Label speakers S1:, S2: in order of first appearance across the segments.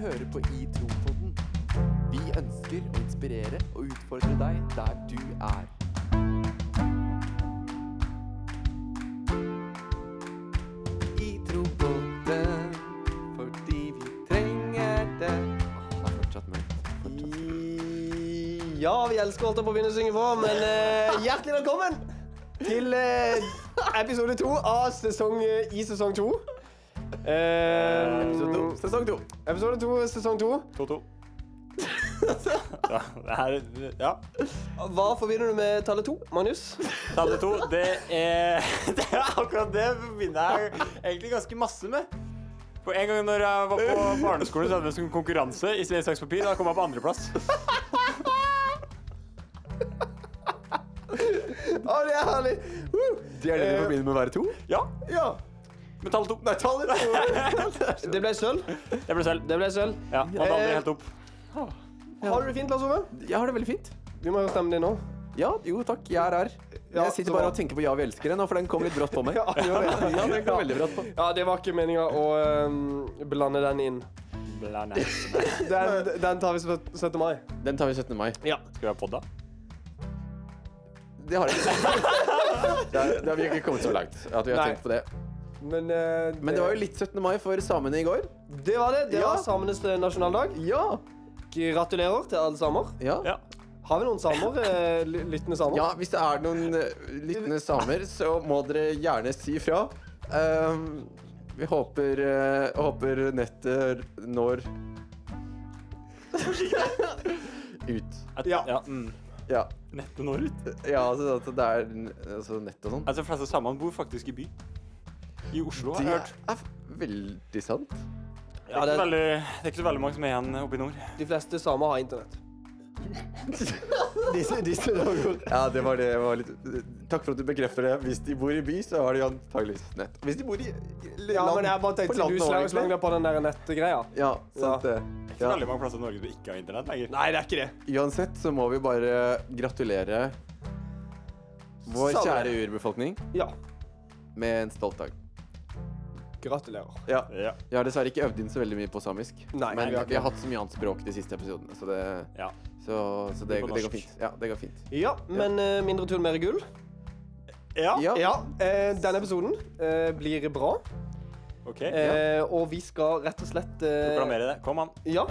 S1: hører på I Tro-podden. Vi ønsker å inspirere og utfordre deg der du er. I Tro-podden, fordi vi trenger det. Åh, det er fortsatt mørkt. Fortsatt.
S2: Ja, vi elsker å holde på å begynne å synge på, men eh, hjertelig velkommen til eh, episode to av sesong eh, i sesong to. Eh,
S1: Episode to, sesong to.
S2: Episode to, sesong to.
S3: 2-2. ja, det her, ja.
S2: Hva forbinder du med tallet to, Magnus?
S3: Tallet to, det er, det er akkurat det forbinder jeg egentlig ganske masse med. For en gang når jeg var på barneskolen, så hadde vi en sånn konkurranse i stein, saks, papir. Da kom jeg på andreplass.
S2: Å, det er herlig! Woo!
S1: Det er det du forbinder med å være to?
S3: Ja,
S2: Ja.
S3: med tallet to. Nei, tallet
S2: Det ble sølv.
S3: Det ble selv.
S2: Det ble sølv.
S3: Ja, man hadde aldri helt opp.
S2: Har du det fint, Lars Ove?
S1: Jeg har det veldig fint.
S2: Vi må høre stemmen din nå.
S1: Ja, jo takk, jeg er her.
S2: Ja,
S1: jeg
S2: så
S1: sitter bare
S2: bra.
S1: og tenker på Ja, vi elsker deg nå, for den kom litt brått på meg.
S2: Ja, det gjør det.
S1: Ja, den kom veldig brått på.
S2: Ja, det var ikke meninga å eh, blande den inn.
S3: Bla, nei.
S2: Den, den tar vi 17. mai.
S1: Den tar vi 17. mai.
S2: Ja.
S3: Skal vi ha podda?
S1: Det har jeg ikke. Der, der har vi ikke kommet så langt. At vi har
S2: Nei.
S1: tenkt på det.
S2: Men, eh,
S1: Men det var jo litt 17. mai for samene i går.
S2: Det var det. Det
S1: Ja.
S2: var samenes eh, nasjonaldag.
S1: Ja.
S2: Gratulerer til alle samer.
S1: Ja.
S3: Ja.
S2: Har vi noen samer? eh, ly- Lyttende samer?
S1: ja, hvis det er noen eh, lyttende samer, så må dere gjerne si fra. Ehm, vi håper, eh, håper nettet når Ut.
S3: ja. ja. Mm.
S1: Ja.
S3: Nettet når ut.
S1: ja altså, at det er altså, nett og sånn.
S3: Altså, de fleste samene bor faktisk i by. I Oslo, har
S1: Det
S3: jeg
S1: er
S3: hørt.
S1: f- veldig sant.
S3: Det
S2: det-
S3: er, ikke veldig, det er ikke så veldig mange som er igjen oppe i nord.
S2: De fleste samer har internett. disse, disse dager.
S1: Ja, det var det. det Var litt... Takk for at du bekrefter det. Hvis de bor i by, så har de antakeligvis nett. Hvis de bor i land
S2: Ja, men jeg bare
S1: på
S2: tenkte sånn
S1: landet
S2: du
S1: også,
S2: slang
S1: egentlig.
S2: slang deg på den der nettgreia.
S1: Ja, sant det.
S3: Det er
S1: Ja.
S3: veldig mange plasser i Norge du ikke har internett lenger.
S2: Nei, det er ikke det.
S1: Uansett så må vi bare gratulere vår
S2: Samer.
S1: kjære urbefolkning
S2: Ja.
S1: med en stolt dag.
S2: Gratulerer.
S1: Ja.
S3: Ja.
S1: Jeg har dessverre ikke øvd inn så veldig mye på samisk,
S2: Nei,
S1: men
S2: vi har ikke
S1: vi har hatt så mye annet språk de siste episodene, så det,
S3: ja.
S1: så, så det,
S3: Mye på
S1: det går
S3: norsk.
S1: fint. Ja, det går fint.
S2: Ja, men eh, mindre tull, mer gull.
S3: Ja.
S1: Ja.
S2: Ja, eh, denne episoden eh, blir bra.
S3: OK.
S2: Eh, og vi skal rett og slett eh,
S3: Proklamere det. Kom an.
S2: Ja.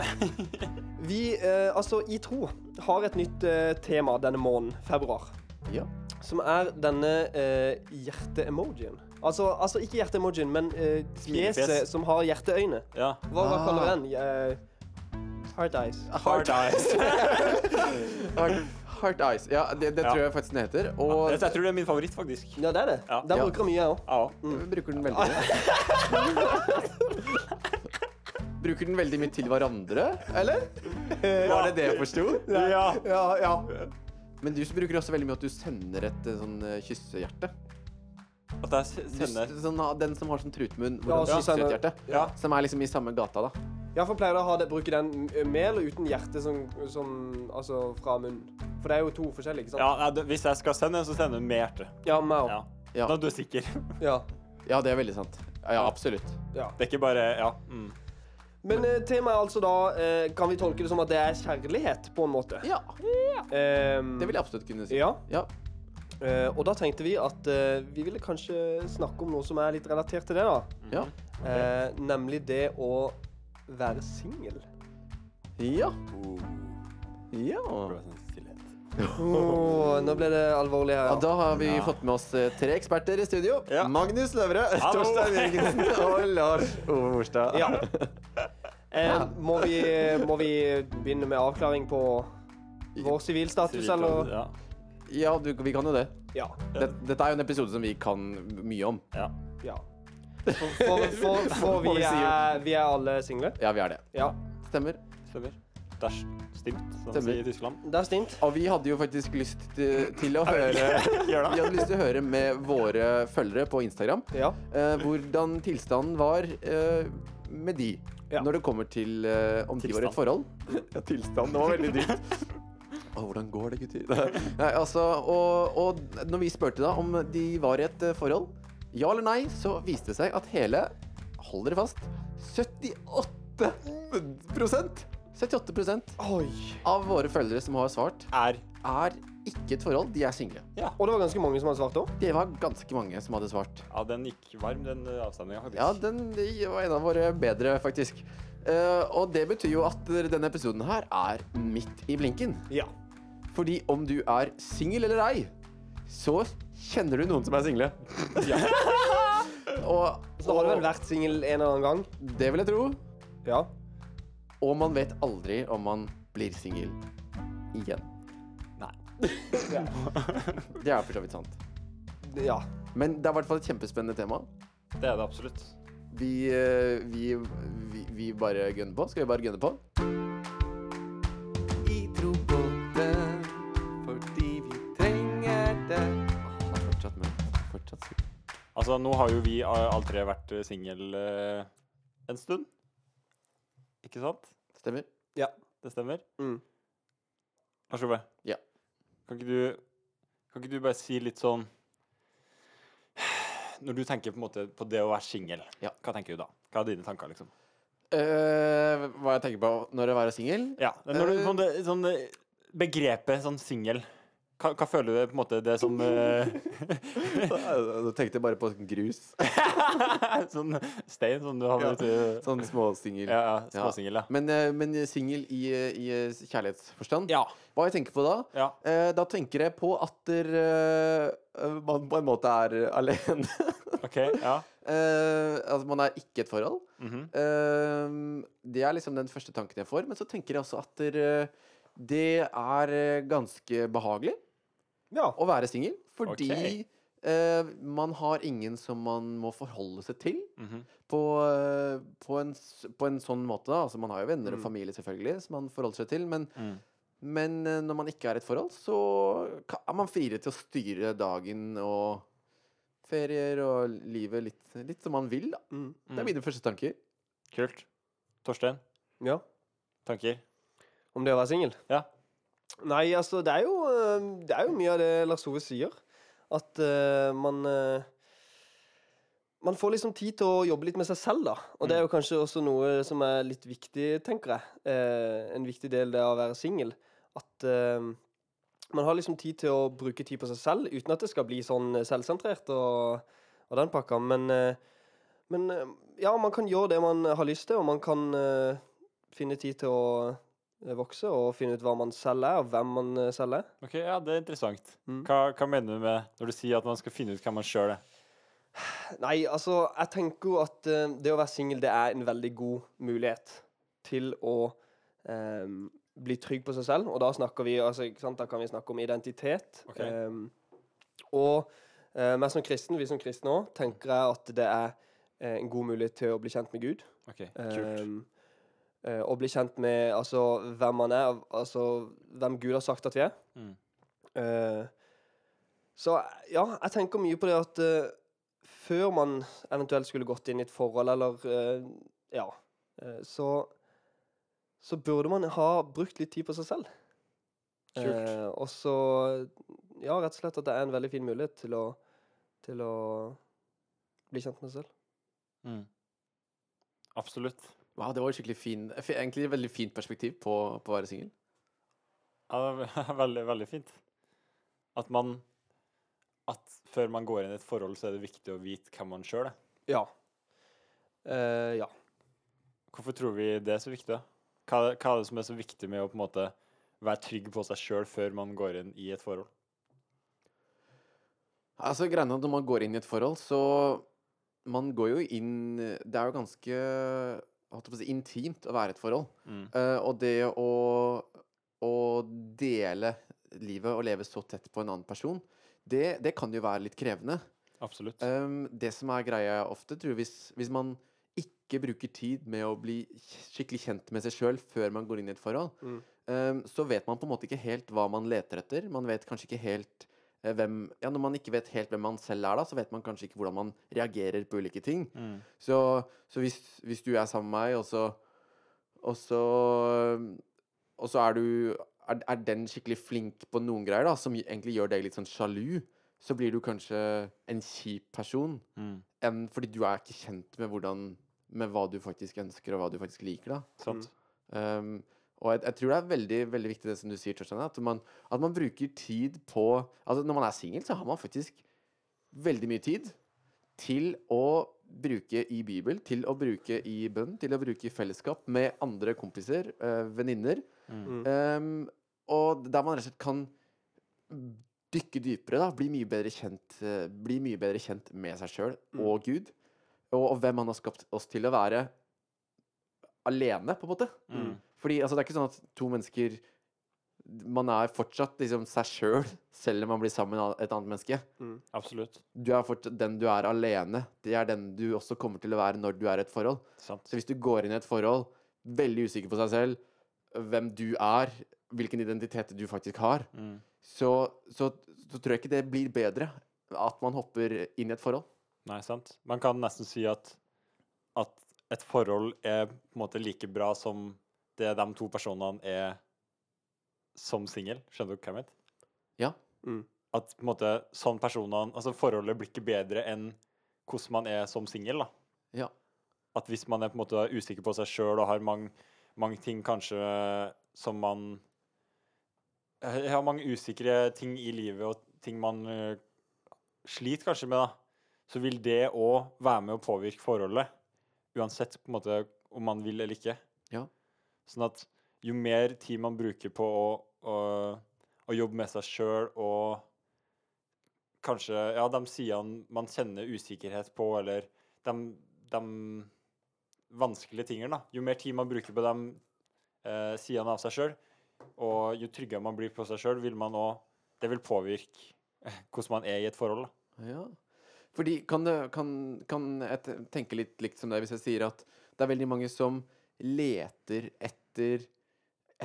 S2: Vi, eh, altså, I tro har et nytt eh, tema denne måneden, februar.
S1: Ja.
S2: Som er denne eh, hjerte-emojien. Altså, altså ikke hjerte-emojien, men eh,
S3: Smilefjes.
S2: fjeset som har hjerteøyne.
S3: Ja.
S2: Hva, hva
S1: Ah.
S2: kaller den? Eh, heart eyes.
S1: Heart,
S3: eyes.
S1: heart, heart eyes. Ja, det, det
S3: Ja.
S1: tror jeg faktisk den heter. Og
S3: Jeg tror det er min favoritt, faktisk.
S2: Ja, det er det.
S3: Ja.
S2: Den
S1: Ja.
S2: bruker jeg mye, jeg òg.
S3: Ja.
S1: Jeg Bruker den veldig mye. Bruker den veldig mye til hverandre, eller? Var det det jeg forsto?
S3: ja.
S2: Ja, ja.
S1: Men du bruker også veldig mye at du sender et eh, sånn eh, kyssehjerte.
S3: At jeg s-
S1: Du, s-
S3: sender
S1: sånn, ah, den som har sånn trutmunn,
S2: Ja,
S1: hvor
S2: og
S1: den
S2: så
S1: kysser et
S2: sender-
S1: hjerte.
S3: Ja.
S1: Som er liksom i samme gata, da.
S2: Jeg pleier å ha det, bruke den eh, med eller uten hjerte som, som, altså, fra munnen. For det er jo to forskjellige, ikke
S3: Ja,
S2: sant?
S3: nei, du- hvis jeg skal sende, så sender jeg med hjerte.
S2: Ja, meg
S3: Ja.
S2: òg.
S1: Ja.
S3: Da er du sikker.
S2: Ja.
S1: Ja, det er veldig sant. Ja, ja absolutt.
S2: ja.
S3: Det er ikke bare Ja. Mm.
S2: Men eh, temaet er altså da eh, Kan vi tolke det som at det er kjærlighet, på en måte?
S1: Ja,
S2: Ehm,
S1: det vil jeg absolutt kunne si.
S2: Ja.
S1: Ja.
S2: eh, og da tenkte vi at eh, vi ville kanskje snakke om noe som er litt relatert til det, da.
S1: Mm. Ja.
S2: Eh, nemlig det å være singel.
S1: Ja.
S3: Oh,
S1: ja.
S3: prøv å sende stillhet.
S2: Oh. Åh, nå ble det alvorlig her.
S1: Ja,
S2: Ja.
S1: da har vi
S3: Ja.
S1: fått med oss eh, tre eksperter i studio.
S3: Ja.
S1: Magnus Løvre,
S3: Hallo.
S1: Torstein Jørgensen og Lars Ove Morstad.
S2: Ja. Eh, må, vi, må vi begynne med avklaring på vår sivilstatus, eller?
S3: Ja.
S1: Ja, du, vi kan jo det.
S2: Ja.
S1: det. Dette er jo en episode som vi kan mye om.
S3: ja.
S2: ja. For, for, for, for
S1: Må vi
S2: vi,
S1: si
S2: er, vi er alle single.
S1: Ja, vi er det.
S2: Ja.
S1: Stemmer.
S3: Stemmer. Det er stimt, som
S1: Stemmer.
S3: de sier i Tyskland.
S2: Det er stint.
S1: Og vi hadde jo faktisk lyst til, til å høre
S3: Gjør
S1: Vi
S3: det.
S1: hadde lyst til å høre med våre følgere på Instagram
S2: Ja.
S1: eh, hvordan tilstanden var eh, med de
S2: Ja.
S1: når det kommer til eh, om de var i et
S3: Tilstand.
S1: forhold. Ja, tilstand. Det var veldig dypt. Å, hvordan går det, gutter? Nei, altså, og, og når vi spurte da om de var i et eh, forhold, ja eller nei, så viste det seg at hele Hold dere fast 78 prosent 78
S2: Oi.
S1: av våre følgere som har svart,
S3: Er
S1: er ikke et forhold, de er single.
S3: Ja.
S2: Og det var ganske mange som hadde svart òg.
S1: Det var ganske mange som hadde svart.
S3: ja, den gikk varm, den avstemninga, faktisk.
S1: Ja, den var en av våre bedre, faktisk. Eh, og det betyr jo at denne episoden her er midt i blinken.
S2: Ja.
S1: Fordi om du er singel eller ei, så kjenner du noen som er single.
S3: Ja.
S1: Og,
S2: Så da har du vel vært singel en eller annen gang?
S1: Det vil jeg tro.
S2: Ja.
S1: Og man vet aldri om man blir singel igjen.
S3: Nei.
S1: Det er for så vidt sant.
S2: Ja.
S1: Men det er i hvert fall et kjempespennende tema.
S3: Det er det absolutt.
S1: Vi, eh, vi, vi, vi bare gunner på. Skal vi bare gunne på? Vi tror på det fordi vi trenger det. Han er fortsatt med. Fortsatt sikker.
S3: Altså, nå har jo vi eh, alle tre vært single eh, en stund. Ikke sant?
S1: Stemmer.
S2: Ja.
S3: Det stemmer?
S2: Mm.
S3: Lars Ove,
S1: Ja.
S3: kan ikke du Kan ikke du bare si litt sånn Når du tenker på, en måte på det å være singel,
S1: Ja.
S3: hva tenker du da? Hva er dine tanker, liksom?
S1: Eh, hva jeg tenker på når jeg er singel?
S3: Ja, når du,
S1: Eh,
S3: sånn, det, sånn det- begrepet sånn singel hva, hva føler du på en måte det som eh,
S1: Da tenkte jeg bare på grus.
S3: Sånn stein som du har
S1: Ja.
S3: ja. ute
S1: Sånn småsingel.
S3: Ja, ja, småsingel, ja.
S1: Men, eh, men singel i, eh, i eh, kjærlighetsforstand.
S3: Ja.
S1: Hva jeg tenker på da?
S3: ja.
S1: Eh, da tenker jeg på at der, eh, man på en måte er alene.
S3: OK. Ja.
S1: Eh, altså, man er ikke et forhold.
S3: Mhm.
S1: Eh, det er liksom den første tanken jeg får. Men så tenker jeg også at der, eh, det er eh, ganske behagelig
S2: ja.
S1: å være singel. Fordi
S3: Ok.
S1: eh, man har ingen som man må forholde seg til.
S3: Mhm.
S1: På, eh, på, en, s- på en sånn måte, da. Altså, man har jo venner og familie selvfølgelig som man forholder seg til. Men,
S3: Mm.
S1: men eh, når man ikke er i et forhold, så ka- er man friere til å styre dagen og ferier og livet litt, litt som man vil. Da.
S2: Mm.
S1: Det er mine første tanker.
S3: Kult. Torstein,
S2: ja.
S3: tanker?
S2: Om det å være singel?
S3: Ja.
S2: Nei, altså, det er jo, eh, det er jo mye av det Lars Ove sier. At eh, man eh, Man får liksom tid til å jobbe litt med seg selv, da. Og det er jo kanskje også noe som er litt viktig, tenker jeg. Eh, en viktig del det er å være singel. At eh, man har liksom tid til å bruke tid på seg selv, uten at det skal bli sånn selvsentrert og, og den pakka. Men, eh, men eh, ja, man kan gjøre det man har lyst til, og man kan eh, finne tid til å eh, vokse og finne ut hva man selv er, og hvem man eh, selv er.
S3: Ok, ja, Det er interessant.
S2: Mm.
S3: Hva, hva mener du med når du sier at man skal finne ut hvem man sjøl er?
S2: Nei, altså, jeg tenker jo at eh, det å være singel, det er en veldig god mulighet til å eh, bli trygg på seg selv. Og da snakker vi, altså, ikke sant, da kan vi snakke om identitet.
S3: Ok.
S2: Eh, og uh, meg som kristen, vi som kristne òg, tenker jeg at det er eh, en god mulighet til å bli kjent med Gud.
S3: Ok, kult.
S2: Um, eh, og bli kjent med altså, hvem man er, altså hvem Gud har sagt at vi er.
S3: Mm.
S2: Eh, så ja, jeg tenker mye på det at eh, før man eventuelt skulle gått inn i et forhold, eller eh, ja, eh, så så burde man ha brukt litt tid på seg selv.
S3: Kult.
S2: Eh, og så Ja, rett og slett at det er en veldig fin mulighet til å, til å bli kjent med seg selv.
S3: Mm. Absolutt.
S1: Wow, det var et skikkelig fin, f- egentlig et veldig fint perspektiv på, på å være singel.
S3: Ja, det er ve- veldig, veldig fint. At man At før man går inn i et forhold, så er det viktig å vite hvem man sjøl er.
S2: Ja. Eh, ja.
S3: Hvorfor tror vi det er så viktig? da? Hva, er det- hva er det som er så viktig med å på en måte være trygg på seg sjøl før man går inn i et forhold?
S1: Altså, greiene er at når man går inn i et forhold, så Man går jo inn Det er jo ganske jeg holdt på å si, intimt å være i et forhold.
S3: Mm.
S1: Eh, og det å, å dele livet og leve så tett på en annen person, det, det kan jo være litt krevende.
S3: Absolutt.
S1: Ehm, det som er greia ofte, tror jeg, hvis, hvis man ikke bruker tid med å bli kj- skikkelig kjent med seg sjøl før man går inn i et forhold,
S2: Mm.
S1: ehm, så vet man på en måte ikke helt hva man leter etter. Man vet kanskje ikke helt eh, hvem Ja, når man ikke vet helt hvem man selv er, da, så vet man kanskje ikke hvordan man reagerer på ulike ting.
S3: Mm.
S1: Så, så hvis, hvis du er sammen med meg, og så Og så, og så er du er, er den skikkelig flink på noen greier, da, som egentlig gjør deg litt sånn sjalu, så blir du kanskje en kjip person
S3: Mm.
S1: enn fordi du er ikke kjent med hvordan med hva du faktisk ønsker, og hva du faktisk liker. da
S3: Sant.
S1: Um, og jeg, jeg tror det er veldig veldig viktig det som du sier, Torstein, at, man- at man bruker tid på Altså Når man er singel, så har man faktisk veldig mye tid til å bruke i Bibel, til å bruke i bønn, til å bruke i fellesskap med andre kompiser, eh, venninner. Um, og der man rett og slett kan dykke dypere, da, bli mye bedre kjent, eh, bli mye bedre kjent med seg sjøl og Gud, og, og hvem han har skapt oss til å være alene, på en måte.
S3: Mm.
S1: Fordi altså, det er ikke sånn at to mennesker Man er fortsatt liksom seg sjøl, selv, om man blir sammen med et annet menneske.
S3: Absolutt.
S1: Du er fortsatt den du er alene. Det er den du også kommer til å være når du er i et forhold.
S3: Sant.
S1: Så hvis du går inn i et forhold veldig usikker på seg selv, hvem du er, hvilken identitet du faktisk har,
S3: Mm.
S1: så, så, så tror jeg ikke det blir bedre at man hopper inn i et forhold.
S3: Nei, sant. Man kan nesten si at, at et forhold er på en måte like bra som det de to personene er som singel. Skjønner du hva jeg mener?
S1: Ja.
S2: Mm.
S3: At på en måte sånn personene Altså forholdet blir ikke bedre enn hvordan man er som singel, da.
S1: Ja.
S3: At hvis man er på en måte usikker på seg sjøl og har mange, mange ting kanskje som man Jeg har mange usikre ting i livet og ting man eh, sliter kanskje med, da, så vil det òg være med å påvirke forholdet. Uansett på en måte om man vil eller ikke.
S1: Ja.
S3: Sånn at jo mer tid man bruker på å, å, å jobbe med seg sjøl og kanskje Ja, de sidene man kjenner usikkerhet på, eller de, de vanskelige tingene, da. Jo mer tid man bruker på de eh, sidene av seg sjøl, og jo tryggere man blir på seg sjøl, vil man òg Det vil påvirke eh, hvordan man er i et forhold. da.
S1: Ja. Fordi kan, det, kan, kan jeg te- tenke litt likt som deg hvis jeg sier at det er veldig mange som leter etter,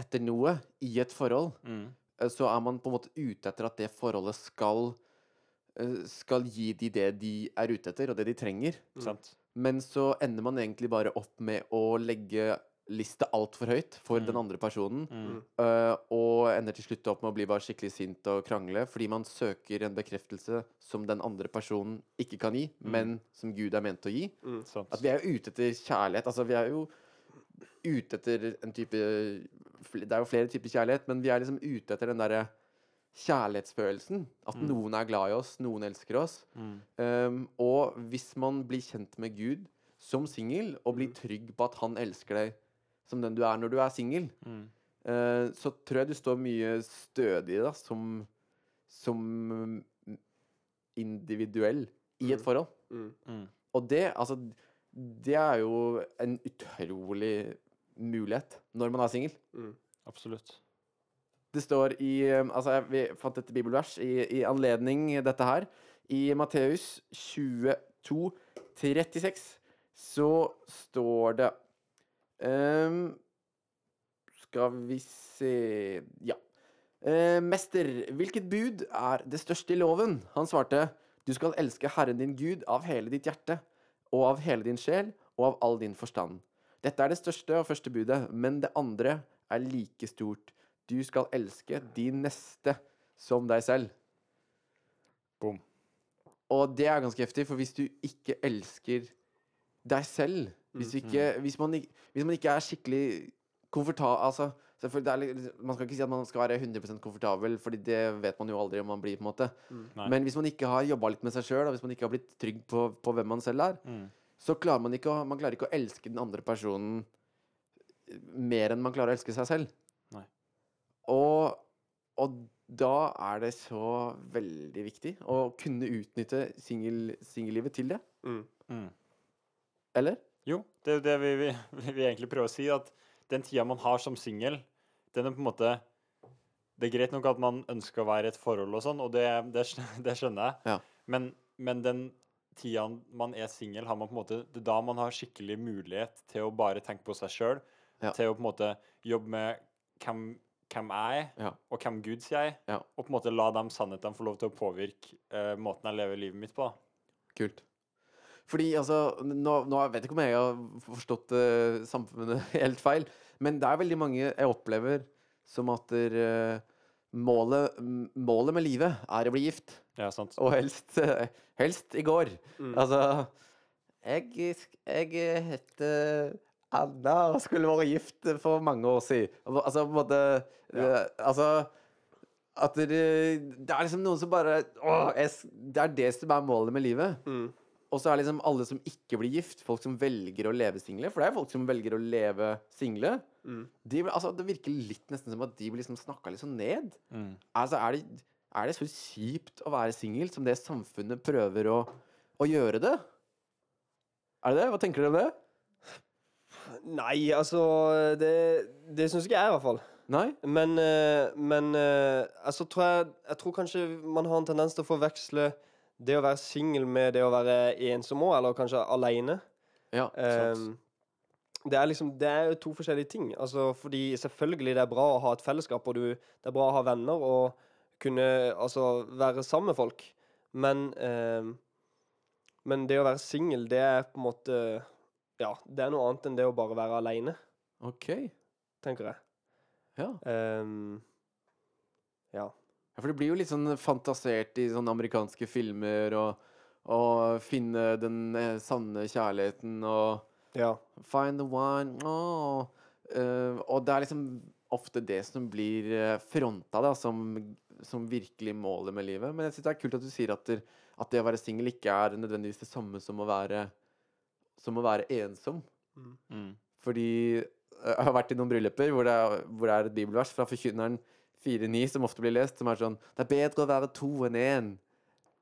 S1: etter noe i et forhold, eh, så er man på en måte ute etter at det forholdet skal, eh, skal gi de det de er ute etter, og det de trenger.
S3: Sant?
S1: Men så ender man egentlig bare opp med å legge lista altfor høyt for
S3: Mm.
S1: den andre personen,
S3: Mm.
S1: eh, og ender til slutt opp med å bli bare skikkelig sint og krangle, fordi man søker en bekreftelse som den andre personen ikke kan gi,
S3: Mm.
S1: men som Gud er ment å gi.
S3: Sant.
S1: At vi er jo ute etter kjærlighet. Altså, vi er jo ute etter en type fl- Det er jo flere typer kjærlighet, men vi er liksom ute etter den derre kjærlighetsfølelsen. At noen er glad i oss, noen elsker oss. Um, og hvis man blir kjent med Gud som singel, og blir trygg på at han elsker deg som den du er når du er singel,
S3: Mm.
S1: eh, så tror jeg du står mye stødigere da, som, som mm, individuell i et forhold.
S3: Mm.
S1: Og det, altså, det er jo en utrolig mulighet når man er singel.
S3: Absolutt.
S1: Det står i eh, Altså, jeg, vi fant et bibelvers i, i anledning dette her. I Matteus 22, 36, så står det ehm, Skal vi se Ja. Eh, Mester, hvilket bud er det største i loven? Han svarte, Du skal elske Herren din Gud av hele ditt hjerte, og av hele din sjel, og av all din forstand. Dette er det største og første budet, men det andre er like stort. Du skal elske din neste som deg selv.
S3: Boom.
S1: Og det er ganske heftig, for hvis du ikke elsker deg selv Hvis, du ikke, hvis, man, ik- hvis man ikke er skikkelig komfortabel altså, selvfølgelig, det er litt- Man skal ikke si at man skal være 100 komfortabel, Fordi det vet man jo aldri om man blir. på en måte
S3: Nei.
S1: Men hvis man ikke har jobba litt med seg sjøl, og hvis man ikke har blitt trygg på, på hvem man selv er,
S3: Mm.
S1: så klarer man ikke å, man klarer ikke å elske den andre personen mer enn man klarer å elske seg selv.
S3: Nei.
S1: Og, og da er det så veldig viktig å kunne utnytte singel- singellivet til det.
S3: Mm.
S1: Eller?
S3: Jo, det er jo det vi, vi, vi egentlig prøver å si, at den tida man har som singel, den er på en måte Det er greit nok at man ønsker å være i et forhold og sånn, og det, det, skj- det skjønner jeg,
S1: Ja.
S3: men, men den tida man er singel, har man på en måte Det er da man har skikkelig mulighet til å bare tenke på seg sjøl,
S1: Ja.
S3: til å på en måte jobbe med hvem, hvem jeg er,
S1: Ja.
S3: og hvem Gud sier jeg er,
S1: Ja.
S3: og på en måte la de sannhetene få lov til å påvirke eh, måten jeg lever livet mitt på. da.
S1: Kult. Fordi altså Nå, nå vet jeg ikke om jeg har forstått eh, samfunnet helt feil, men det er veldig mange jeg opplever som at eh, målet, m- målet med livet er å bli gift.
S3: Ja, sant.
S1: Og helst, eh, helst i går. Altså Jeg, jeg heter Anna og skulle vært gift for mange år siden. Og Altså på en måte eh, Altså at dere, det er liksom noen som bare åh, jeg, s- Det er det som er målet med livet.
S3: mm,
S1: Og så er liksom alle som ikke blir gift, folk som velger å leve single. For det er folk som velger å leve single.
S3: mm.
S1: De, blir- altså, det virker litt nesten som at de blir liksom snakka litt sånn ned. Altså, er det, er det så kjipt å være singel som det samfunnet prøver å, å gjøre det? Er det det? Hva tenker dere om det?
S2: Nei, altså Det, det syns ikke jeg, i hvert fall.
S1: Nei?
S2: Men, eh, men eh, altså, tror jeg, jeg tror kanskje man har en tendens til å forveksle det å være singel med det å være ensom òg, eller kanskje aleine.
S1: Ja.
S2: Ehm, det er liksom Det er jo to forskjellige ting. Altså, fordi selvfølgelig det er bra å ha et fellesskap, og du, det er bra å ha venner og kunne altså være sammen med folk, men ehm, Men det å være singel, det er på en måte Ja, det er noe annet enn det å bare være aleine,
S1: OK.
S2: tenker jeg.
S1: Ja.
S2: Ehm,
S1: Ja, For det blir jo litt sånn fantasert i sånne amerikanske filmer og og finne den eh, sanne kjærligheten og
S2: ja.
S1: Find the one åh. Eh, Og det er liksom ofte det som blir eh, fronta da, som, som virkelig målet med livet. Men jeg syns det er kult at du sier at, der, at det å være singel ikke er nødvendigvis det samme som å være, som å være ensom. Fordi eh, jeg har vært i noen brylluper hvor det er, hvor det er et bibelvers fra forkynneren 4.9 som ofte blir lest, som er sånn Det er bedre å være to enn én.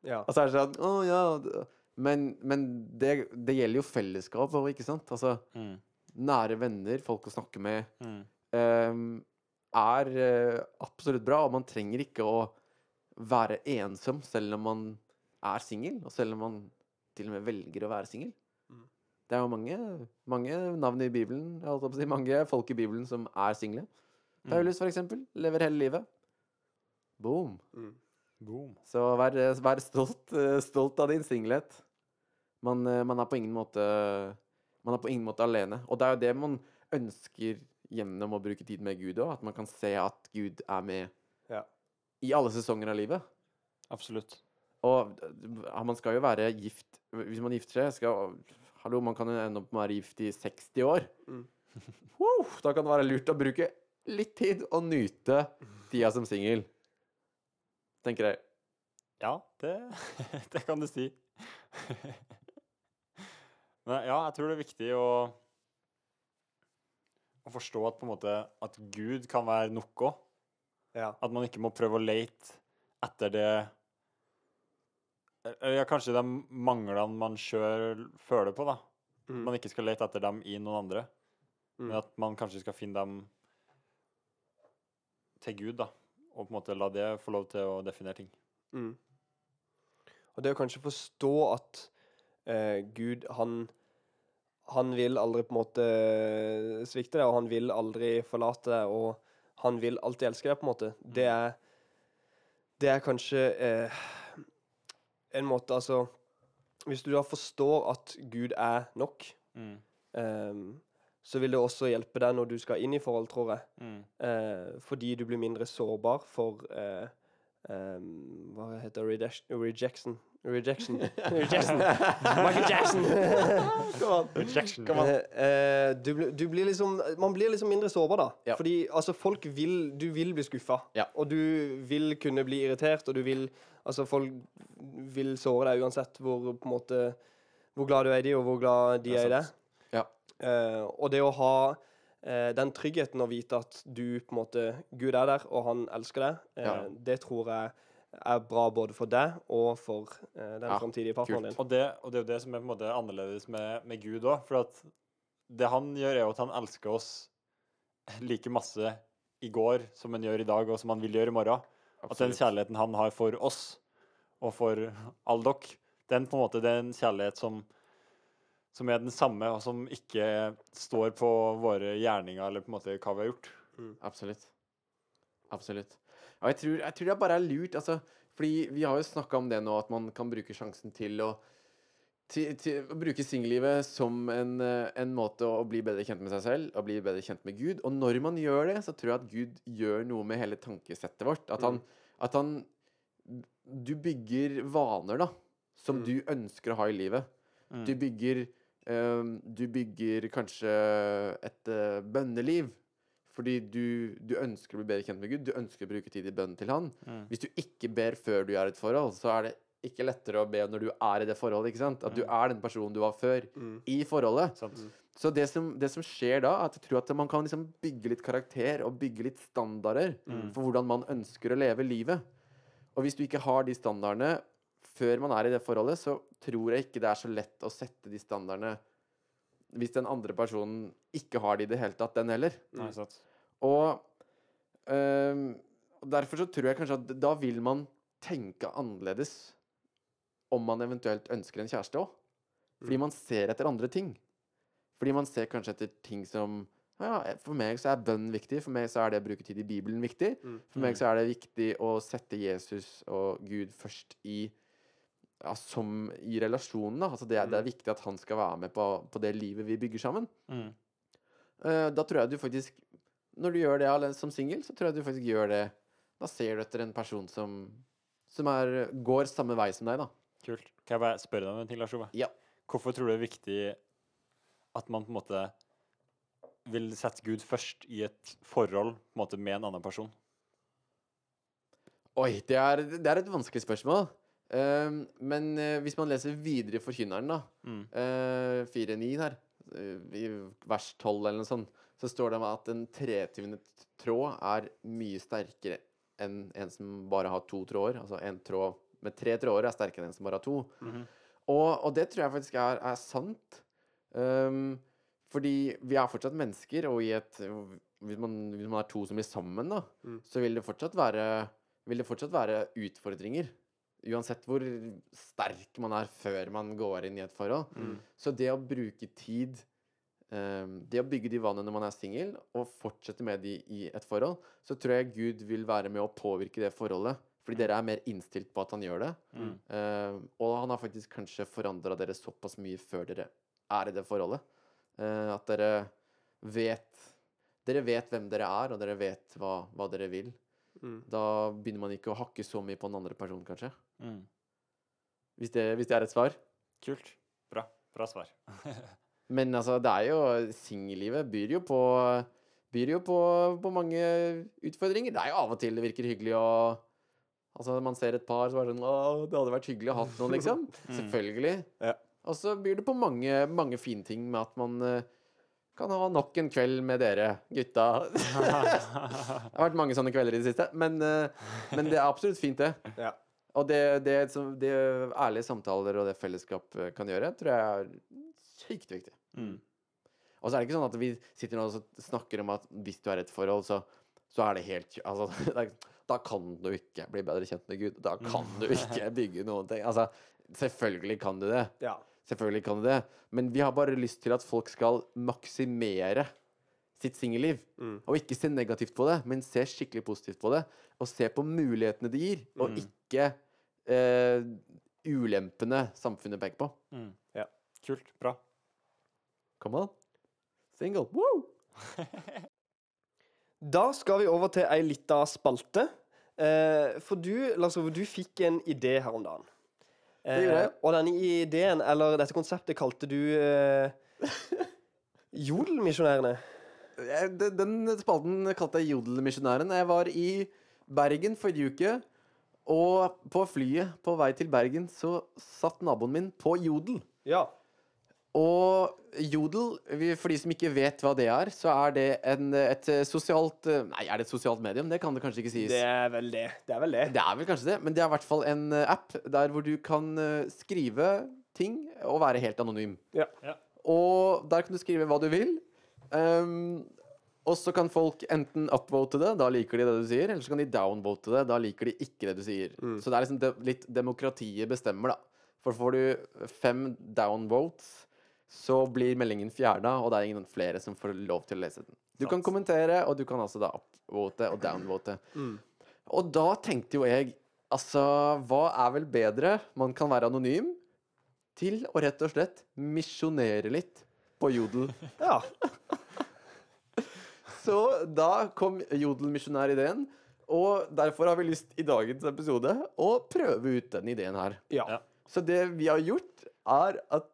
S2: Ja.
S1: Og så er det sånn Å ja. d- Men, men det, det gjelder jo fellesskap òg, ikke sant? Altså nære venner, folk å snakke med, ehm, er eh, absolutt bra. Og man trenger ikke å være ensom selv om man er singel, og selv om man til og med velger å være singel.
S2: Mm.
S1: Det er jo mange, mange navn i Bibelen, jeg holdt på å si, mange folk i Bibelen som er single. Paulus, for eksempel, lever hele livet. Boom.
S2: Mm.
S3: Boom.
S1: Så vær, vær stolt, eh, stolt av din singlet. Man, eh, man er på ingen måte Man er på ingen måte alene. Og det er jo det man ønsker gjennom å bruke tid med Gud òg. At man kan se at Gud er med
S2: Ja.
S1: i alle sesonger av livet.
S3: Absolutt.
S1: Og d- ja, man skal jo være gift Hvis man gifter seg skal, Hallo, man kan jo ende opp med å være gift i 60 år.
S2: Mm.
S1: Wow, da kan det være lurt å bruke litt tid og nyte tida som singel. Tenker jeg.
S3: Ja, det, det kan du si. Men ja, jeg tror det er viktig å å forstå at på en måte at Gud kan være nok òg.
S2: Ja.
S3: At man ikke må prøve å leite etter det Eller ja, kanskje de manglene man sjøl føler på, da.
S2: Mm.
S3: Man ikke skal lete etter dem i noen andre, men
S2: Mm.
S3: at man kanskje skal finne dem til Gud, da. Og på en måte la det få lov til å definere ting.
S2: Mm. Og det å kanskje forstå at eh, Gud, han Han vil aldri på en måte eh, svikte deg, og han vil aldri forlate deg, og han vil alltid elske deg, på en måte. Det er Det er kanskje eh, en måte, altså Hvis du da forstår at Gud er nok, eh, så vil det også hjelpe deg når du skal inn i forhold, tror jeg. Eh, fordi du blir mindre sårbar for eh, em, Hva heter det? Redash- Rejection. Rejection. Rejection. Michael Jackson! Kom an.
S3: Rejection.
S2: Eh, eh, du, blir- du blir liksom Man blir liksom mindre sårbar, da.
S1: Ja.
S2: Fordi altså, folk vil Du vil bli skuffa.
S1: Ja.
S2: Og du vil kunne bli irritert, og du vil Altså, folk vil såre deg uansett hvor på en måte Hvor glad du er i de, og hvor glad de
S3: Det er
S2: er, i deg.
S3: sant.
S1: Ja.
S2: Eh, og det å ha eh, den tryggheten å vite at du på en måte Gud er der, og han elsker deg, eh,
S1: Ja.
S2: det tror jeg er bra både for deg og for eh, den
S1: Ja,
S2: fremtidige partneren din.
S3: Og det, og det er jo det som er på en måte annerledes med, med Gud òg. For at det han gjør, er jo at han elsker oss like masse i går som han gjør i dag, og som han vil gjøre i morgen. At den kjærligheten han har for oss, og for alle dere, den på en måte, det er en kjærlighet som, som er den samme, og som ikke står på våre gjerninger, eller på en måte hva vi har gjort.
S1: Absolutt. Absolutt. Og jeg tror, jeg tror det bare er lurt, altså, fordi vi har jo snakka om det nå, at man kan bruke sjansen til å til, til, å bruke singellivet som en, eh, en måte å bli bedre kjent med seg selv og bli bedre kjent med Gud. Og når man gjør det, så tror jeg at Gud gjør noe med hele tankesettet vårt. At han, at han Du bygger vaner, da, som
S2: Mm.
S1: du ønsker å ha i livet. Du bygger ehm, Du bygger kanskje et eh, bønneliv. Fordi du, du ønsker å bli bedre kjent med Gud. Du ønsker å bruke tid i bønn til Han.
S3: Mm.
S1: Hvis du ikke ber før du er i et forhold, så er det ikke lettere å be når du er i det forholdet. ikke sant? At du er den personen du var før
S2: Mm.
S1: i forholdet.
S3: Mm. Sant?
S1: Så det som, det som skjer da, er at jeg tror at man kan liksom bygge litt karakter og bygge litt standarder
S3: Mm.
S1: for hvordan man ønsker å leve livet. Og hvis du ikke har de standardene før man er i det forholdet, så tror jeg ikke det er så lett å sette de standardene hvis den andre personen ikke har de i det hele tatt, den heller.
S2: Mm.
S3: Nei, sant.
S1: Og øhm, og derfor så tror jeg kanskje at da vil man tenke annerledes om man eventuelt ønsker en kjæreste òg. Fordi
S2: Mm.
S1: man ser etter andre ting. Fordi man ser kanskje etter ting som ja, ja, For meg så er bønn viktig. For meg så er det å bruke tid i Bibelen viktig.
S2: Mm.
S1: For meg så er det viktig å sette Jesus og Gud først i ja, som i relasjonen. Da. Altså det, er- det er
S2: Mm.
S1: viktig at han skal være med på, på det livet vi bygger sammen.
S3: Mm.
S1: Eh, da tror jeg du faktisk Når du gjør det alle- som singel, så tror jeg du faktisk gjør det Da ser du etter en person som Som er, går samme vei som deg, da.
S3: Kult. Kan jeg bare spørre deg om en ting, Lars Ove?
S1: Ja.
S3: Hvorfor tror du det er viktig at man på en måte vil sette Gud først i et forhold på en måte, med en annen person?
S1: Oi, det er, det er et vanskelig spørsmål. Ehm, men eh, hvis man leser videre i Forkynneren, da,
S3: Mm.
S1: eh, 4-9 her, eh, i vers 12 eller noe sånt, så står det om at en tretyvende tråd er mye sterkere enn en som bare har to tråder. Altså en tråd med tre tråder er sterkere enn en som bare har to.
S3: Mhm.
S1: Og, og det tror jeg faktisk er, er sant. Ehm, fordi vi er fortsatt mennesker, og i et, hvis, man, hvis man er to som blir sammen, da,
S2: Mm.
S1: så vil det, fortsatt være, vil det fortsatt være utfordringer. Uansett hvor sterk man er før man går inn i et forhold. Så det å bruke tid ehm, Det å bygge de vanene når man er singel, og fortsette med de i et forhold, så tror jeg Gud vil være med å påvirke det forholdet. Fordi dere er mer innstilt på at han gjør det.
S3: Mm.
S1: Eh, og han har faktisk kanskje forandra dere såpass mye før dere er i det forholdet. eh, at dere vet Dere vet hvem dere er, og dere vet hva, hva dere vil.
S2: Mm.
S1: Da begynner man ikke å hakke så mye på den andre personen, kanskje.
S3: Mm.
S1: Hvis det, hvis det er et svar.
S3: Kult. Bra. Bra svar.
S1: Men altså, det er jo Singellivet byr jo på Byr jo på, på mange utfordringer. Det er jo av og til det virker hyggelig å Altså, man ser et par som er sånn Å, det hadde vært hyggelig å ha noen, liksom. Selvfølgelig.
S3: Ja.
S1: Og så byr det på mange, mange fine ting med at man eh, kan ha nok en kveld med dere gutta. det har vært mange sånne kvelder i det siste, men, eh, men det er absolutt fint, det.
S2: Ja.
S1: Og det, det, som, det ærlige samtaler og det fellesskap eh, kan gjøre, tror jeg er sykt viktig.
S3: Mm.
S1: Og så er det ikke sånn at vi sitter nå og så snakker om at hvis du er i et forhold, så, så er det helt kjø- altså, det er, ikke- Da kan du ikke bli bedre kjent med Gud. Da kan du ikke bygge noen ting. Altså, selvfølgelig kan du det.
S2: Ja.
S1: Selvfølgelig kan du det. Men vi har bare lyst til at folk skal maksimere sitt singelliv.
S2: Mm.
S1: Og ikke se negativt på det, men se skikkelig positivt på det. Og se på mulighetene det gir, og
S3: Mm.
S1: ikke eh, ulempene samfunnet peker på.
S3: Mm.
S2: Ja.
S3: Kult. Bra.
S1: Come on. Single. Woo!
S2: Da skal vi over til ei lita spalte. Eh, for du, Lars Ove, du fikk en idé her om dagen. Eh,
S1: Det gjorde jeg.
S2: og denne ideen, eller dette konseptet, kalte du eh, Jodelmisjonærene.
S1: Jeg- de- Den spalten kalte jeg Jodelmisjonæren. Jeg var i Bergen forrige uke. Og på flyet på vei til Bergen så satt naboen min på Jodel.
S2: Ja.
S1: Og Jodel, vi- for de som ikke vet hva det er, så er det en, et eh, sosialt eh, Nei, er det et sosialt medium? Det kan det kanskje ikke sies.
S2: Det er vel det. Det er vel det.
S1: Det er vel kanskje det, men det er i hvert fall en eh, app der hvor du kan eh, skrive ting og være helt anonym.
S2: Ja.
S3: Ja.
S1: Og der kan du skrive hva du vil. Ehm, og så kan folk enten upvote det, da liker de det du sier, eller så kan de downvote det, da liker de ikke det du sier. Så det er liksom de litt demokratiet bestemmer, da. For får du fem downvotes, så blir meldingen fjerna, og det er ingen flere som får lov til å lese den. Du kan
S3: Sant.
S1: kommentere, og du kan altså da upvote og downvote. Og da tenkte jo jeg Altså, hva er vel bedre? Man kan være anonym til å rett og slett misjonere litt på Jodel.
S2: ja.
S1: Så da kom Jodel-misjonær-ideen, og derfor har vi lyst i dagens episode å prøve ut den ideen her.
S2: Ja.
S3: Ja.
S1: Så det vi har gjort, er at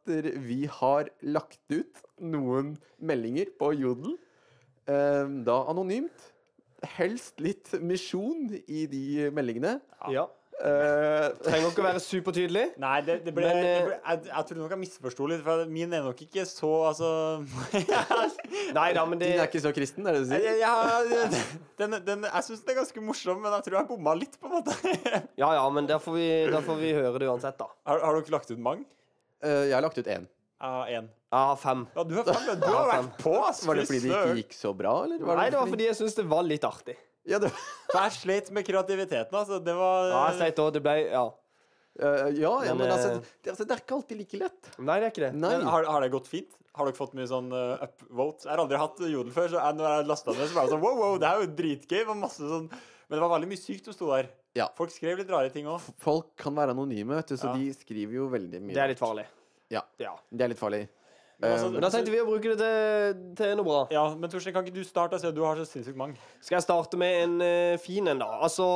S1: vi har lagt ut noen meldinger på Jodel. eh, Da anonymt. Helst litt misjon i de meldingene.
S2: Ja.
S1: Eh,
S2: Trenger ikke å være supertydelig.
S3: Nei, det, det ble,
S2: Men,
S3: det
S2: eh,
S3: ble jeg, jeg tror nok jeg misforsto litt, for min er nok ikke så Altså
S2: Nei da, men det
S1: Din er ikke så kristen, er det du
S3: jeg,
S1: sier?
S3: jeg, jeg, den, den, jeg syns den er ganske morsom, men jeg tror jeg bomma litt, på en måte. Har,
S2: Ja ja, men der får vi, der får vi høre det uansett, da.
S3: har dere lagt ut mange?
S1: Eh, Jeg har lagt ut én.
S3: Jeg har én.
S2: Jeg har fem.
S3: Ja, du har fem, men du har vært på, altså. ass!
S1: Var det fordi det
S3: Fy
S1: ikke
S3: søren.
S1: gikk så bra, eller? Var
S2: Nei, det var fordi jeg syns det var litt artig.
S1: ja, det...
S3: For Jeg sleit med kreativiteten, altså. Det var
S2: Ja, jeg sier det også, det ble Ja.
S1: Eh, ja, ja,
S2: Men,
S1: men altså,
S2: eh,
S1: det, altså, det er ikke alltid like lett.
S2: Nei, det er ikke det.
S1: Nei.
S3: Men har, har det gått fint? Har dere fått mye sånn eh, upvote? Jeg har aldri hatt jodel før, så jeg, når jeg lasta ned, så var jeg sånn wow, wow, det her er jo dritgøy. Det var masse sånn Men det var veldig mye sykt som sto der.
S1: Ja.
S3: Folk skrev litt rare ting òg.
S1: Folk kan være anonyme, vet du, så
S3: Ja.
S1: de skriver jo veldig mye.
S2: Det er litt farlig.
S1: Ja.
S2: ja.
S1: Det er litt farlig.
S3: altså,
S1: Eh,
S2: Men da tenkte vi å bruke det til, til noe bra.
S3: Ja, men Torstein, kan ikke du starte? Altså, du har så sinnssykt mange.
S2: Skal jeg starte med en eh, fin en, da? Altså,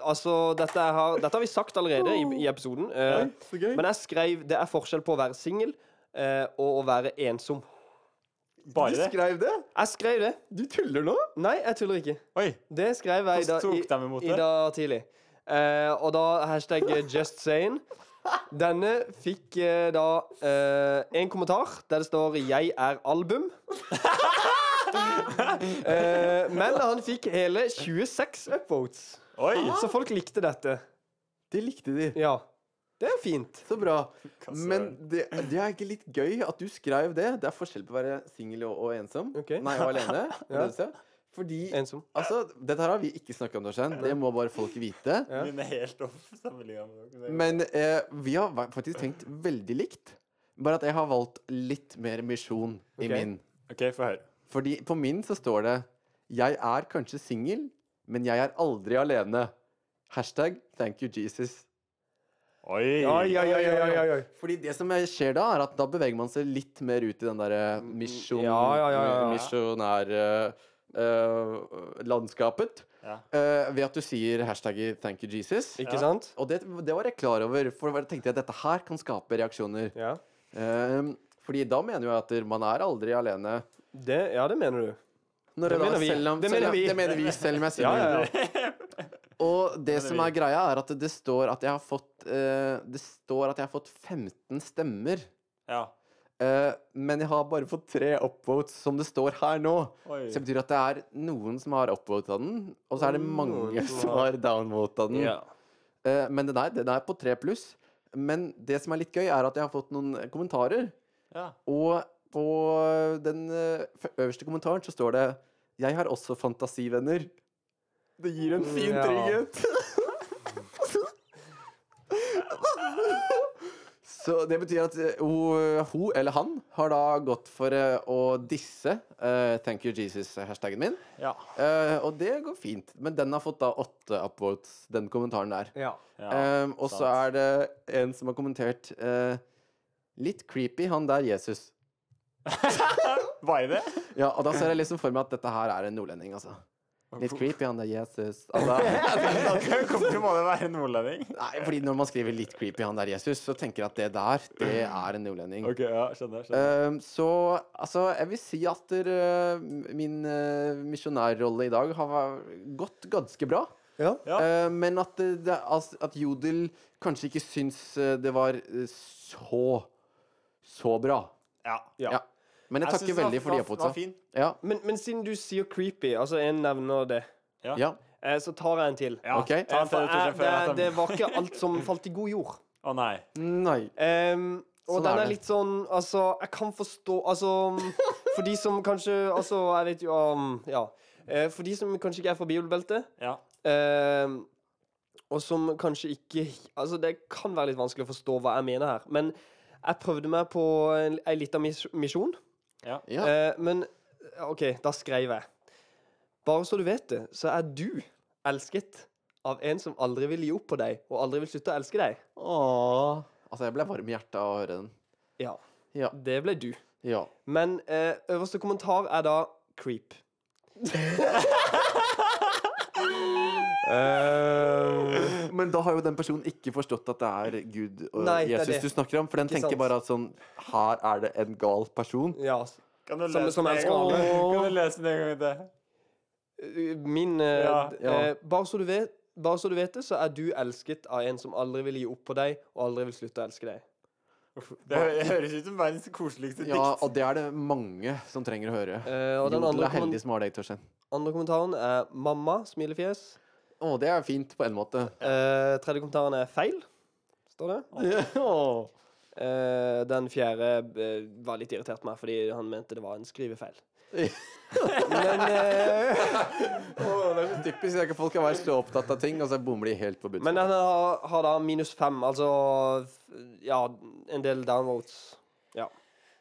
S2: altså dette, har, dette har vi sagt allerede i, i episoden. eh,
S1: så gøy.
S2: men jeg skrev det er forskjell på å være singel eh, og å være ensom.
S1: du
S3: Bare det?
S1: skrev det?
S2: Jeg skrev det.
S1: Du tuller nå?
S2: Nei, jeg tuller ikke.
S3: Oi.
S2: Det skrev jeg i dag,
S3: Hvordan
S2: i,
S3: tok de imot
S2: i
S3: det?
S2: dag tidlig. Eh, og da hashtag eh, just saying. Denne fikk eh, da eh, en kommentar der det står 'Jeg er album'. Eh, men han fikk hele 26 upvotes.
S3: Oi.
S2: Så folk likte dette.
S1: Det likte de.
S2: Ja. Det er jo fint.
S1: Så bra.
S3: Hva sa
S1: Men
S3: du?
S1: det, det er egentlig litt gøy at du skrev det. Det er forskjell på å være singel og, og ensom.
S2: Ok.
S1: Nei, og alene.
S2: Ja.
S1: det du sa. Fordi
S2: Ensom.
S1: Altså, dette her har vi ikke snakka om, Torstein. Det må bare folk vite.
S2: Ja.
S3: Min er helt off sammenligna med dere.
S1: Men eh, vi har va- faktisk tenkt veldig likt. Bare at jeg har valgt litt mer misjon i
S2: Ok.
S1: min.
S3: OK, få høre.
S1: Fordi på min så står det Jeg er kanskje singel, men jeg er aldri alene. Hashtag thank you Jesus.
S3: Oi.
S2: Oi, oi, oi, oi, oi, oi.
S1: Fordi det som er- skjer da, er at da beveger man seg litt mer ut i den derre misjon,
S2: Ja, ja, ja, ja, ja.
S1: misjonær... eh, landskapet.
S3: Ja.
S1: eh, ved at du sier hashtagget 'thank you Jesus'.
S2: Ikke
S3: Ja.
S2: sant?
S1: Og det, det var jeg klar over, for da tenkte jeg at dette her kan skape reaksjoner.
S2: Ja.
S1: Um, fordi da mener jo jeg at man er aldri alene.
S2: Det, ja, det mener du.
S1: Når jeg
S2: Det
S1: da-
S2: mener vi.
S1: Selv om,
S2: Det
S1: selv
S2: mener
S1: om,
S2: vi.
S1: det mener vi, selv om jeg sier
S2: Ja, ja,
S1: det.
S2: ja.
S1: Og det,
S3: mener
S1: som
S3: vi.
S1: er greia, er at det står at jeg har fått eh, Det står at jeg har fått 15 stemmer.
S3: Ja.
S1: eh, men jeg har bare fått tre upvotes, som det står her nå.
S3: Oi.
S1: Så det betyr at det er noen som har upvota den, og så er det mange
S2: Noen som
S1: som
S2: har-
S1: har downvota den.
S2: Ja.
S1: Eh, men den er, den er på tre pluss. Men det som er litt gøy, er at jeg har fått noen kommentarer.
S3: Ja.
S1: Og på den eh, f- øverste kommentaren så står det 'Jeg har også fantasivenner'. Det gir en fin
S2: Ja.
S1: trygghet. så det betyr at eh, hun, hun eller han har da gått for eh, å disse eh, 'Thank you Jesus'-hashtagen min.
S3: Ja.
S1: Eh, og det går fint. Men den har fått da åtte upvotes, den kommentaren der.
S2: ja.
S3: ja.
S2: Eh,
S1: Ehm, og så er
S3: sant.
S1: det en som har kommentert eh, Litt creepy, han der Jesus.
S3: Var det?
S1: Ja, og da ser jeg liksom for meg at dette her er en nordlending, altså. Litt creepy, han der Jesus. Altså,
S3: Hvorfor må det være nordlending?
S1: nei, fordi når man skriver 'litt creepy, han der Jesus', så tenker jeg at det der, det er en nordlending.
S3: OK, ja, skjønner. skjønner.
S1: Ehm, så altså, jeg vil si at der, eh, min eh, misjonærrolle i dag har gått ganske bra.
S2: Ja.
S3: Ja.
S1: Eh, men at, det, det, altså, at Jodel kanskje ikke syns eh, det var eh, så så bra.
S3: Eh, ja.
S2: Ja.
S1: Ja. Men jeg,
S3: Jeg
S1: takker
S3: synes det var-
S1: veldig for de
S3: var- var
S1: oppvotsa.
S3: fin.
S1: Ja.
S2: Men, men siden du sier creepy, altså en nevner det,
S1: ja.
S2: eh, så tar jeg en til.
S3: Ja,
S1: Ok.
S3: ta
S2: Eh,
S3: en til,
S2: for jeg,
S3: Torstein, før
S2: det,
S3: jeg tar
S2: det
S3: min.
S2: var ikke alt som falt i god jord.
S3: Å nei.
S1: Nei.
S2: Em, og
S1: Sånn er
S2: den er
S1: det.
S2: litt sånn Altså, jeg kan forstå Altså, for de som kanskje Altså, jeg vet jo um, Ja. Eh, for de som kanskje ikke er fra bibelbeltet,
S3: Ja.
S2: em, og som kanskje ikke Altså, det kan være litt vanskelig å forstå hva jeg mener her, men jeg prøvde meg på en- ei lita mis misjon.
S3: Ja.
S1: Ja.
S2: Eh, men OK, da skrev jeg. Bare så du vet det, så er du elsket av en som aldri vil gi opp på deg, og aldri vil slutte å elske deg.
S1: Åh. Altså, jeg ble varm i hjertet av å høre den.
S2: Ja,
S1: Ja.
S2: det ble du.
S1: ja.
S2: Men eh, øverste kommentar er da creep.
S4: Eh,
S1: Men da har jo den personen ikke forstått at det er Gud og
S2: Nei, det er
S1: Jesus
S2: det.
S1: du snakker om. For den
S2: Ikke
S1: tenker
S2: sant.
S1: bare at sånn Her er det en gal person.
S2: Ja.
S3: Kan du
S2: Som-
S3: lese
S2: som
S3: den en
S2: elsker
S3: gang-
S1: alle.
S3: Kan du lese den en gang til?
S2: Min eh,
S3: Ja,
S2: d-
S1: ja.
S2: eh, bare, så du vet, bare så du vet det, så er du elsket av en som aldri vil gi opp på deg, og aldri vil slutte å elske deg.
S3: Det hø- høres ut som verdens koseligste
S1: Ja,
S3: dikt.
S1: og det er det mange som trenger å høre.
S2: Eh, og den
S1: Jodel
S2: andre,
S1: er
S2: kommen-
S1: heldig som har deg, Torstein.
S2: andre kommentaren er 'mamma', smilefjes.
S1: Å, det er fint på en måte.
S2: Eh, tredje kommentaren er 'feil', står det. Eh, den fjerde eh, var litt irritert på meg, fordi han mente det var en skrivefeil. Men eh,
S1: Å, det er så typisk. Det er ikke folk kan være så opptatt av ting, og så bommer de helt på
S2: Men
S1: budsjettet.
S2: den har, har da minus fem, altså f- Ja, en del downvotes. Ja.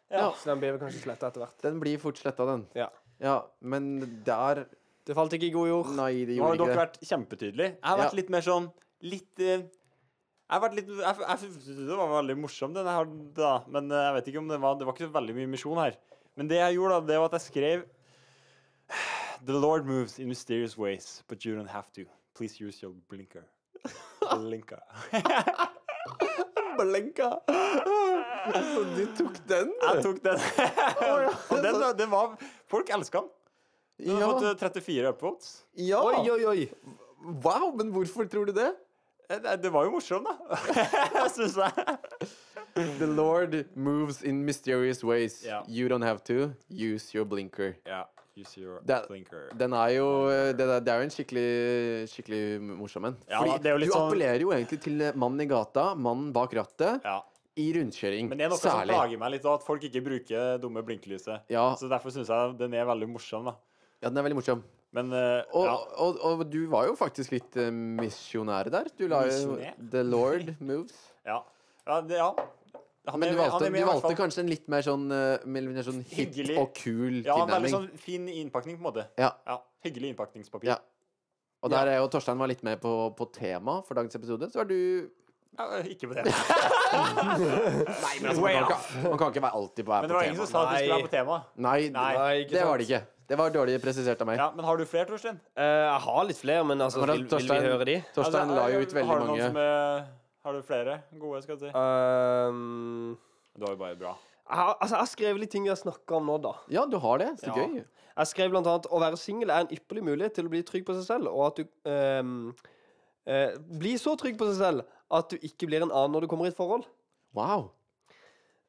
S1: Ja.
S2: Så den blir vel kanskje sletta etter hvert.
S1: Den blir fort sletta, den.
S2: Ja.
S1: Ja, men der
S2: Det falt ikke i god jord.
S1: Nei, det
S3: Nå har
S1: gjorde
S3: dere
S1: ikke det.
S3: vært kjempetydelige. Jeg har vært
S1: Ja.
S3: litt mer sånn Litt eh, Jeg har vært litt Jeg, jeg synes det var veldig morsom, den her, da. Men eh, jeg vet ikke om det var Det var ikke så veldig mye misjon her. Men det jeg gjorde, da, det var at jeg skrev The Lord moves in mysterious ways, but you don't have to. Please use your blinker. Blinker.
S1: Blenka! Så du tok den?
S3: Jeg tok den. Og den, da, det var Folk elska den. Den har
S1: Ja.
S3: fått eh, 34 upvotes.
S1: ja.
S2: Oi, oi, oi.
S1: Wow, men hvorfor tror du det?
S3: Eh, Det det var jo morsom, da. Syns jeg.
S1: The Lord moves in mysterious ways.
S3: Ja.
S1: You don't have to. Use your blinker.
S3: Ja. Use your
S1: Det-
S3: blinker.
S1: Den er jo eh, Det, er- det er jo en skikkelig Skikkelig morsom en.
S3: Ja,
S1: Fordi
S3: det er jo litt
S1: du
S3: sånn-
S1: appellerer jo egentlig til eh, mannen i gata, mannen bak rattet,
S3: Ja.
S1: i rundkjøring.
S3: Men det er noe som
S1: særlig. Ah.
S3: plager meg litt, da, at folk ikke bruker dumme blinklyset.
S1: Ja.
S3: Så derfor syns jeg den er veldig morsom, da.
S1: Ja, den er veldig morsom.
S3: Men eh,
S1: Og,
S3: ja.
S1: og, og, du var jo faktisk litt eh, misjonær der. Du la jo
S3: Misjonær?
S1: The Lord moves.
S3: Ja. ja, det, ja. Han
S1: Men
S3: er-
S1: du
S3: han
S1: valgte,
S3: er med i
S1: du
S3: hvert
S1: valgte
S3: fall.
S1: kanskje en litt mer sånn, eh, mer- mer sånn hip
S3: Hyggelig.
S1: og kul
S3: Ja, en veldig
S1: tilnærming.
S3: sånn fin innpakning, på en måte.
S1: Ja.
S3: Hyggelig innpakningspapir.
S1: Ja. Og der er jo Torstein var litt med på, på tema for dagens episode. Så er du
S3: Ja, eh, ikke på det. Nei, men
S1: man,
S3: altså, way
S1: kan
S3: off.
S1: ikke, man kan ikke være alltid på,
S3: Men
S1: være
S3: det
S1: på
S3: var ingen
S1: tema.
S3: som sa at vi skulle være på tema.
S1: Nei,
S3: Nei,
S2: ikke
S1: det
S2: sant.
S1: var det ikke. Det var dårlig presisert av meg.
S3: Ja, men har du flere, Torstein?
S2: Eh, jeg har litt flere, men altså,
S1: Men da,
S2: vil, vil vi høre de?
S1: Torstein
S3: Altså,
S1: la jo
S3: eh,
S1: ut veldig
S3: har du noen
S1: mange
S3: Som, eh, har du flere gode, skal jeg si?
S2: Ehm,
S3: Det var jo bare bra.
S2: jeg har, altså, jeg har skrevet litt ting vi har snakka om nå, da.
S1: Ja, du har det. Så
S2: Ja.
S1: gøy.
S2: Jeg skrev blant annet å være singel er en ypperlig mulighet til å bli trygg på seg selv, og at du ehm, eh, Bli så trygg på seg selv at du ikke blir en annen når du kommer i et forhold.
S1: Wow.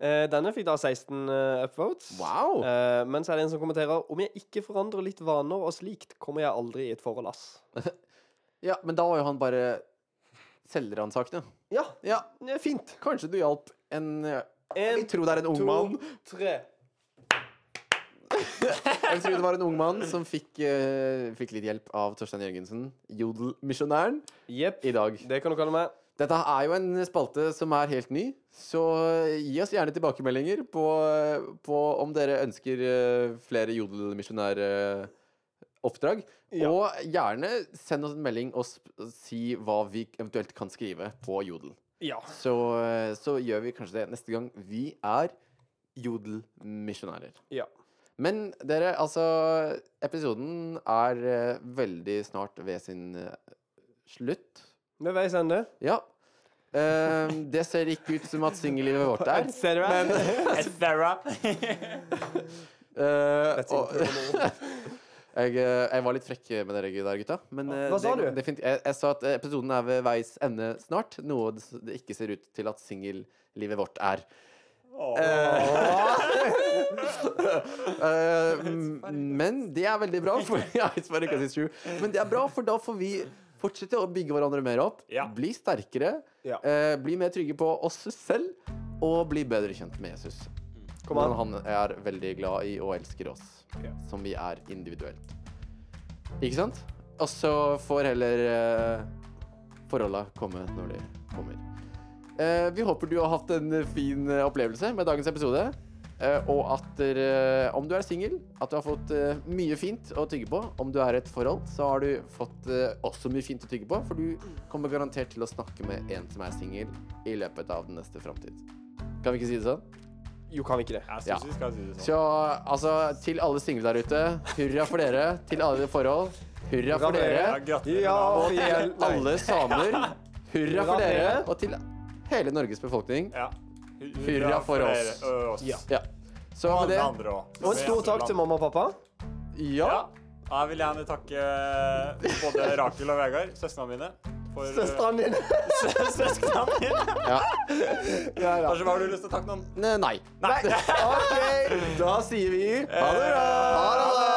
S2: Eh, denne fikk da 16 eh, upvotes.
S1: Wow.
S2: Eh, men så er det en som kommenterer Om jeg ikke forandrer litt vaner og slikt, kommer jeg aldri i et forhold, ass.
S1: Ja, men da var jo han bare selvransakende.
S2: Ja,
S1: Ja,
S2: det er fint.
S1: kanskje du hjalp en eh, Jeg
S2: En,
S1: tror det er en ung
S2: to,
S1: mann.
S2: tre.
S1: Jeg tror det var en ung mann som fikk, eh, fikk litt hjelp av Torstein Jørgensen, jodelmisjonæren,
S2: Jepp.
S1: i dag.
S2: Det kan du kalle meg.
S1: Dette er jo en spalte som er helt ny, så gi oss gjerne tilbakemeldinger på, på om dere ønsker eh, flere jodelmisjonæroppdrag.
S2: Ja.
S1: Og gjerne send oss en melding og sp si hva vi eventuelt kan skrive på jodel.
S2: Ja.
S1: Så, eh, så gjør vi kanskje det neste gang vi er jodelmisjonærer.
S2: Ja.
S1: Men dere, altså Episoden er eh, veldig snart ved sin eh, slutt.
S2: Med veis ende.
S1: Ja. Eh, det ser ikke ut som at singellivet vårt er.
S2: Ser du meg?
S3: Etcetera.
S1: Eh,
S2: That's
S1: og,
S2: incredible.
S1: jeg, eh, jeg var litt frekk med dere der, gutta. Men eh,
S2: Hva sa
S1: det,
S2: du?
S1: det fin- jeg, jeg sa at eh, episoden er ved veis ende snart. Noe det s- det ikke ser ut til at singellivet vårt er. Eh, m- men det er veldig bra, for ja, it's funny 'cause it's true. Men det er bra, for da får vi fortsette å bygge hverandre mer opp.
S3: Ja.
S1: Bli sterkere.
S2: Ja.
S1: eh, bli mer trygge på oss selv. Og bli bedre kjent med Jesus.
S2: Kom an.
S1: Hvordan han er veldig glad i og elsker oss
S2: Ja.
S1: som vi er individuelt. Ikke sant? Og så får heller uh, forholda komme når de kommer. Eh, vi håper du har hatt en fin eh, opplevelse med dagens episode. eh, og at dere, om du er singel, at du har fått eh, mye fint å tygge på. Om du er i et forhold, så har du fått eh, også mye fint å tygge på. For du kommer garantert til å snakke med en som er singel i løpet av den neste framtid. Kan vi ikke si det sånn?
S2: Jo, kan vi ikke det?
S3: Jeg
S1: Ja.
S3: syns vi skal si det sånn.
S1: Så altså, til alle single der ute, hurra for dere. Til alle forhold, Hurra for
S3: Ja,
S1: dere.
S3: gratulerer.
S2: Ja,
S3: da.
S2: for
S1: Til
S2: hjelp.
S1: alle samer. Hurra
S2: for
S1: for dere.
S2: dere.
S1: Og til hele Norges befolkning.
S3: Ja.
S1: Hurra for oss.
S3: dere, og oss.
S2: Ja.
S1: Ja. Så
S3: Og
S1: med
S3: alle
S1: det
S3: andre også.
S2: Og en stor takk til mamma og pappa.
S1: Ja.
S3: Ja. Jeg vil gjerne takke både Rakel og Vegard, søstrene mine. For
S2: Søstrene dine.
S3: søstrene mine.
S1: ja.
S2: Ja, ja.
S3: Kanskje har du lyst til å takke noen?
S1: Ne- Nei.
S3: Nei.
S2: OK, da sier vi
S1: Ha det bra.
S2: ha det.